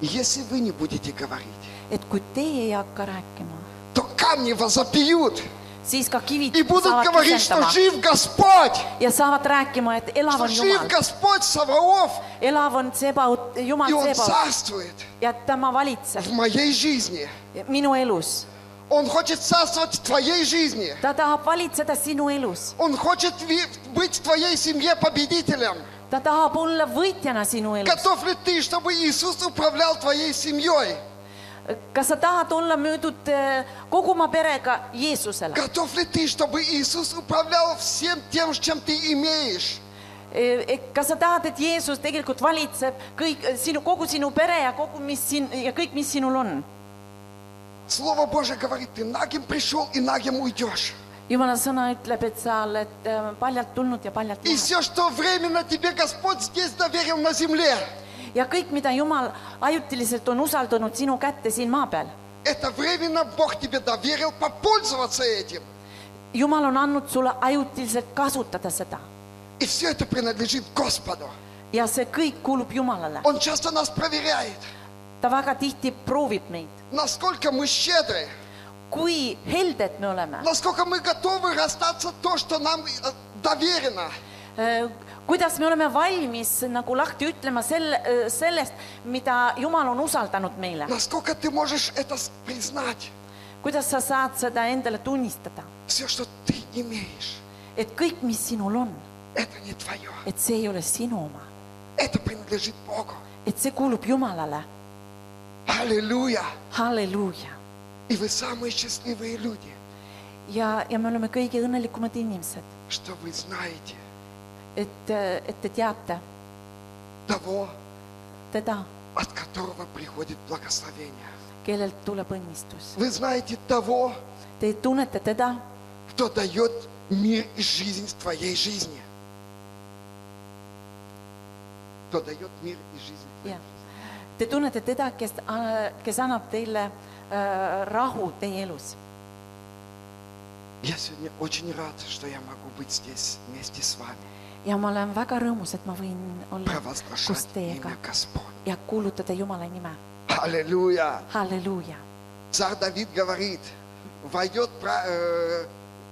если вы не будете говорить,
et kui teie ei hakka rääkima ,
то камни возопьют
siis ka kivid
и будут
saavad
говорить, что
kisendama
жив Господь,
ja saavad rääkima , et elav
что
on
жив
Jumal ,
Господь Саваоф,
elav on Sebaot , Jumal
и Он
Sebaot
царствует
ja tema valitseb
в моей жизни.
minu elus .
Он хочет царствовать в твоей жизни.
ta tahab valitseda sinu elus ,
Он хочет ви- быть в твоей семье победителем.
ta tahab olla võitjana sinu elus .
Готов ли ты, чтобы Иисус управлял твоей семьей?
kas sa tahad olla müüdud eh, kogu oma perega Jeesusele ?
Готов ли ты, чтобы Иисус управлял всем тем, чем ты имеешь?
E, kas sa tahad , et Jeesus tegelikult valitseb kõik äh, sinu , kogu sinu pere ja kogu , mis siin ja kõik , mis sinul on ?
Слово Божье говорит, ты нагим пришел и нагим уйдешь.
jumala sõna ütleb , et sa oled eh, paljalt tulnud ja paljalt
И
lähed
все, что временно тебе Господь здесь доверил на земле,
ja kõik , mida Jumal ajutiliselt on usaldanud sinu kätte siin maa peal ,
это временно Бог тебе доверил попользоваться этим.
Jumal on andnud sulle ajutiliselt kasutada seda
И все это принадлежит Господу.
ja see kõik kuulub Jumalale .
Он часто нас проверяет,
ta väga tihti proovib meid ,
насколько мы щедры,
kui helded me oleme ,
насколько мы готовы расстаться то, что нам э, доверено.
äh, kuidas me oleme valmis nagu lahti ütlema selle , sellest , mida Jumal on usaldanud meile ,
Насколько ты можешь это с- признать,
kuidas sa saad seda endale tunnistada ,
все, что ты имеешь,
et kõik , mis sinul on ,
это не твое,
et see ei ole sinu oma ,
это принадлежит Богу.
et see kuulub Jumalale ,
Аллилуйя!
halleluuja .
И вы самые счастливые люди,
ja , ja me oleme kõige õnnelikumad inimesed ,
что вы знаете
et , et te teate
того,
teda ,
от которого приходит благословение.
kellelt tuleb õnnistus .
Вы знаете того,
Te tunnete teda ,
кто дает мир и жизнь в твоей жизни. Кто дает мир и жизнь. в твоей
jah . Te tunnete teda , kes , kes annab teile äh, rahu teie elus .
жизни. Я сегодня очень рад, что я могу быть здесь вместе с вами,
ja ma olen väga rõõmus , et ma võin olla koos
провозглашать
teiega
имя Господь.
ja kuulutada Jumala nime ,
Аллилуйя!
halleluuja .
Царь Давид говорит, войдет пра- э,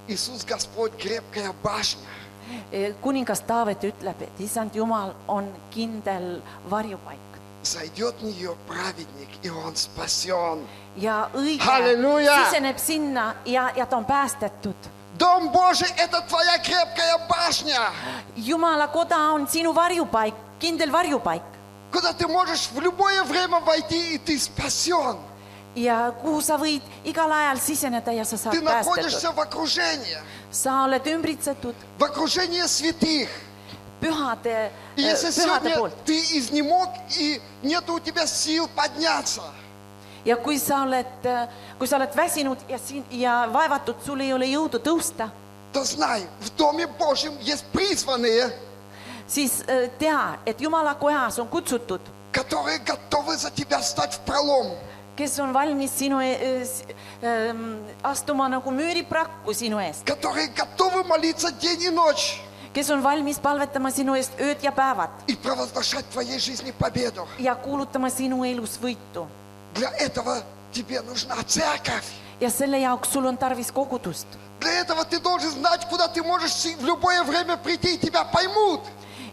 Иисус Господь крепкая башня,
E, kuningas Taavet ütleb , et issand Jumal on kindel varjupaik
зайдет в нее праведник, и он спасен.
ja õige
Halleluuja!
siseneb sinna ja , ja ta on päästetud
Дом Божий – это твоя крепкая башня,
Jumala koda on sinu varjupaik , kindel varjupaik
куда ты можешь в любое время войти, и ты спасен.
ja kuhu sa võid igal ajal siseneda ja sa saad
Ты находишься
päästetud .
в окружении,
sa oled ümbritsetud
в окружении святых.
pühade ,
И если
pühade
сегодня
poolt
ты изнемог, и нет у тебя сил подняться,
ja kui sa oled , kui sa oled väsinud ja siin ja vaevatud , sul ei ole jõudu tõusta ,
то знай, в Доме Божьем есть призванные,
siis äh, tea , et Jumala kojas on kutsutud ,
которые готовы за тебя встать в пролом.
kes on valmis sinu e- e- s- ähm, astuma nagu müüripraku sinu eest ,
которые готовы молиться день и ночь
kes on valmis palvetama sinu eest ööd ja päevad
и провозглашать в твоей жизни победу.
ja kuulutama sinu elus võitu
Для этого тебе нужна церковь.
ja selle jaoks sul on tarvis kogudust .
Для этого ты должен знать, куда ты можешь си- в любое время прийти, и тебя поймут.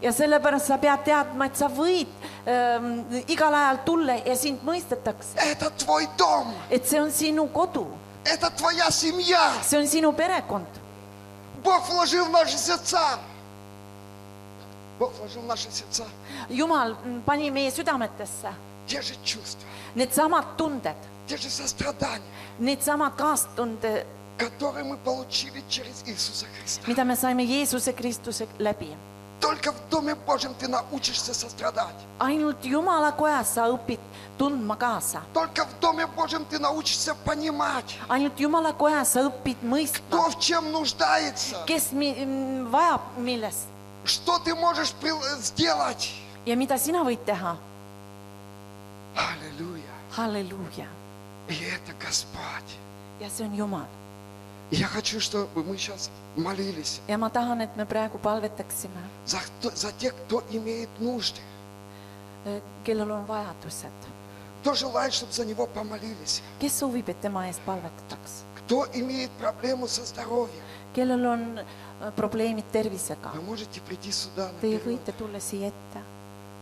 ja sellepärast sa pead teadma , et sa võid ähm, igal ajal tulla ja sind mõistetakse ,
Это твой дом,
et see on sinu kodu ,
это твоя семья.
see on сinu perekond .
Бог вложил в наши сердца. Бог вложил в наши сердца
Jumal mm, pani meie südametesse
те же чувства,
needsamad tunded ,
те же сострадания,
needsamad kaastunde ,
которые мы получили через Иисуса Христа.
mida me saime Jeesuse Kristuse läbi .
Только в Доме Божьем ты научишься сострадать.
ainult Jumala kojas sa õpid tundma kaasa ,
Только в Доме Божьем ты научишься понимать,
ainult Jumala kojas sa õpid mõistma ,
кто в чем нуждается,
kes mi- mm, vajab millest
что ты можешь прил- сделать.
ja mida sina võid teha .
Аллилуйя.
halleluuja
И это Господь.
ja see on Jumal
И Я хочу, чтобы мы сейчас молились
ja ma tahan , et me praegu palvetaksime ,
за, кто- за тех, кто имеет нужды.
eh, kellel on vajadused ,
Кто желает, чтобы за него помолились.
kes soovib , et tema eest palvetataks ,
Кто имеет проблему со здоровьем.
kellel on äh, probleemid tervisega
Вы , можете прийти сюда.
te
наперед.
võite tulla siia ette ,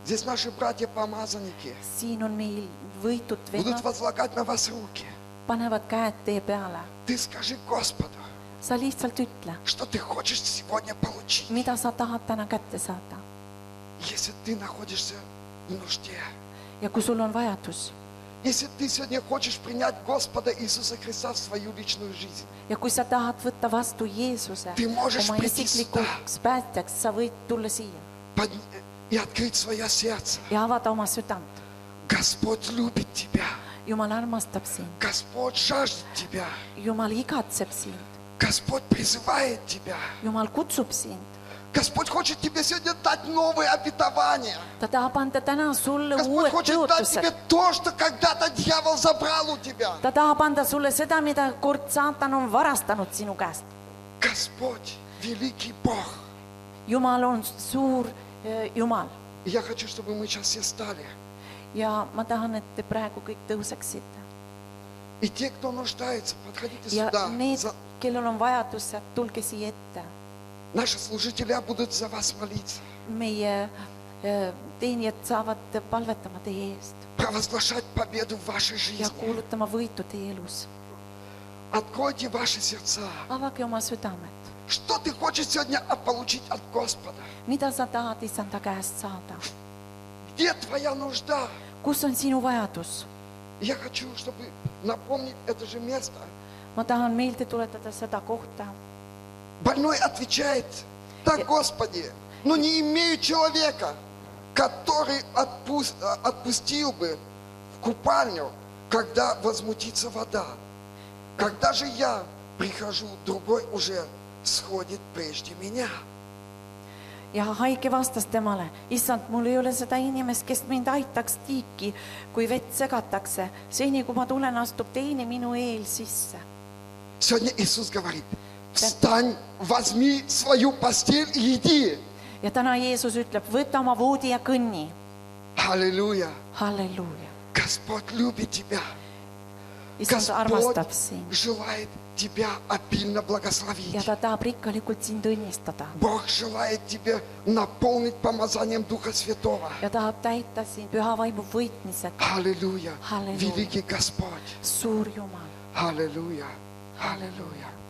Здесь наши братья-помазанники
siin on meil võitud
будут
vennad ,
возлагать на вас руки.
panevad käed tee peale ,
Ты скажи Господу,
sa lihtsalt ütle ,
что ты хочешь сегодня получить.
mida sa tahad täna kätte saada
Если ты находишься в нужде,
ja kui sul on vajadus ,
Если ты сегодня хочешь принять Господа Иисуса Христа в свою личную жизнь,
ja kui sa tahad võtta vastu Jeesuse
Ты можешь
oma
прийти
isiklikuks päästjaks , sa võid tulla siia
подни- и открыть свое сердце,
ja avada oma südant .
Господь любит тебя.
jumal armastab sind ,
Господь жаждет тебя.
Jumal igatseb sind ,
Господь призывает тебя.
Jumal kutsub sind ,
Господь хочет тебе сегодня дать новые обетования.
ta tahab anda täna sulle uued
Господь хочет дать тебе
tõotused ,
то, что когда-то дьявол забрал у тебя.
ta tahab anda sulle seda , mida kord saatan on varastanud sinu käest .
Господь, великий Бог.
Jumal on suur eh, Jumal
И я хочу, чтобы мы сейчас все стали.
ja ma tahan , et te praegu kõik tõuseksite
И те, кто нуждается, подходите
ja
сюда.
need
За- ,
kellel on vajadus , tulge siia ette .
Наши служители будут за вас молиться,
meie eh, teenijad saavad palvetama teie eest
провозглашать победу в вашей
ja
жизни.
kuulutama võitu teie elus .
Откройте ваши сердца.
avage oma südamed ,
Что ты хочешь сегодня а, получить от Господа?
mida sa tahad issanda käest saada
Где твоя нужда?
kus on sinu vajadus ?
И Я хочу, чтобы напомнить это же место.
ma tahan meelde tuletada seda kohta .
Больной отвечает, да, Господи, но не имею человека, который отпус- а, отпустил бы в купальню, когда возмутится вода. Когда же я прихожу, другой уже сходит прежде меня.
ja haige vastas temale , issand , mul ei ole seda inimest , kes mind aitaks tiiki , kui vett segatakse . seni , kui ma tulen , astub teine minu eel sisse .
Сегодня Иисус говорит, встань, возьми свою постель и иди.
ja täna Jeesus ütleb , võta oma voodi ja kõnni .
Аллилуйя.
halleluuja .
Господь любит тебя.
issand armastab sind
Господь желает тебя обильно благословить.
ja ta tahab rikkalikult sind õnnistada
Бог желает тебя наполнить помазанием Духа Святого.
ja tahab täita sind püha vaimu võitmisega .
Аллилуйя.
Аллилуйя.
Великий Господь.
suur Jumal ,
Аллилуйя. Аллилуйя.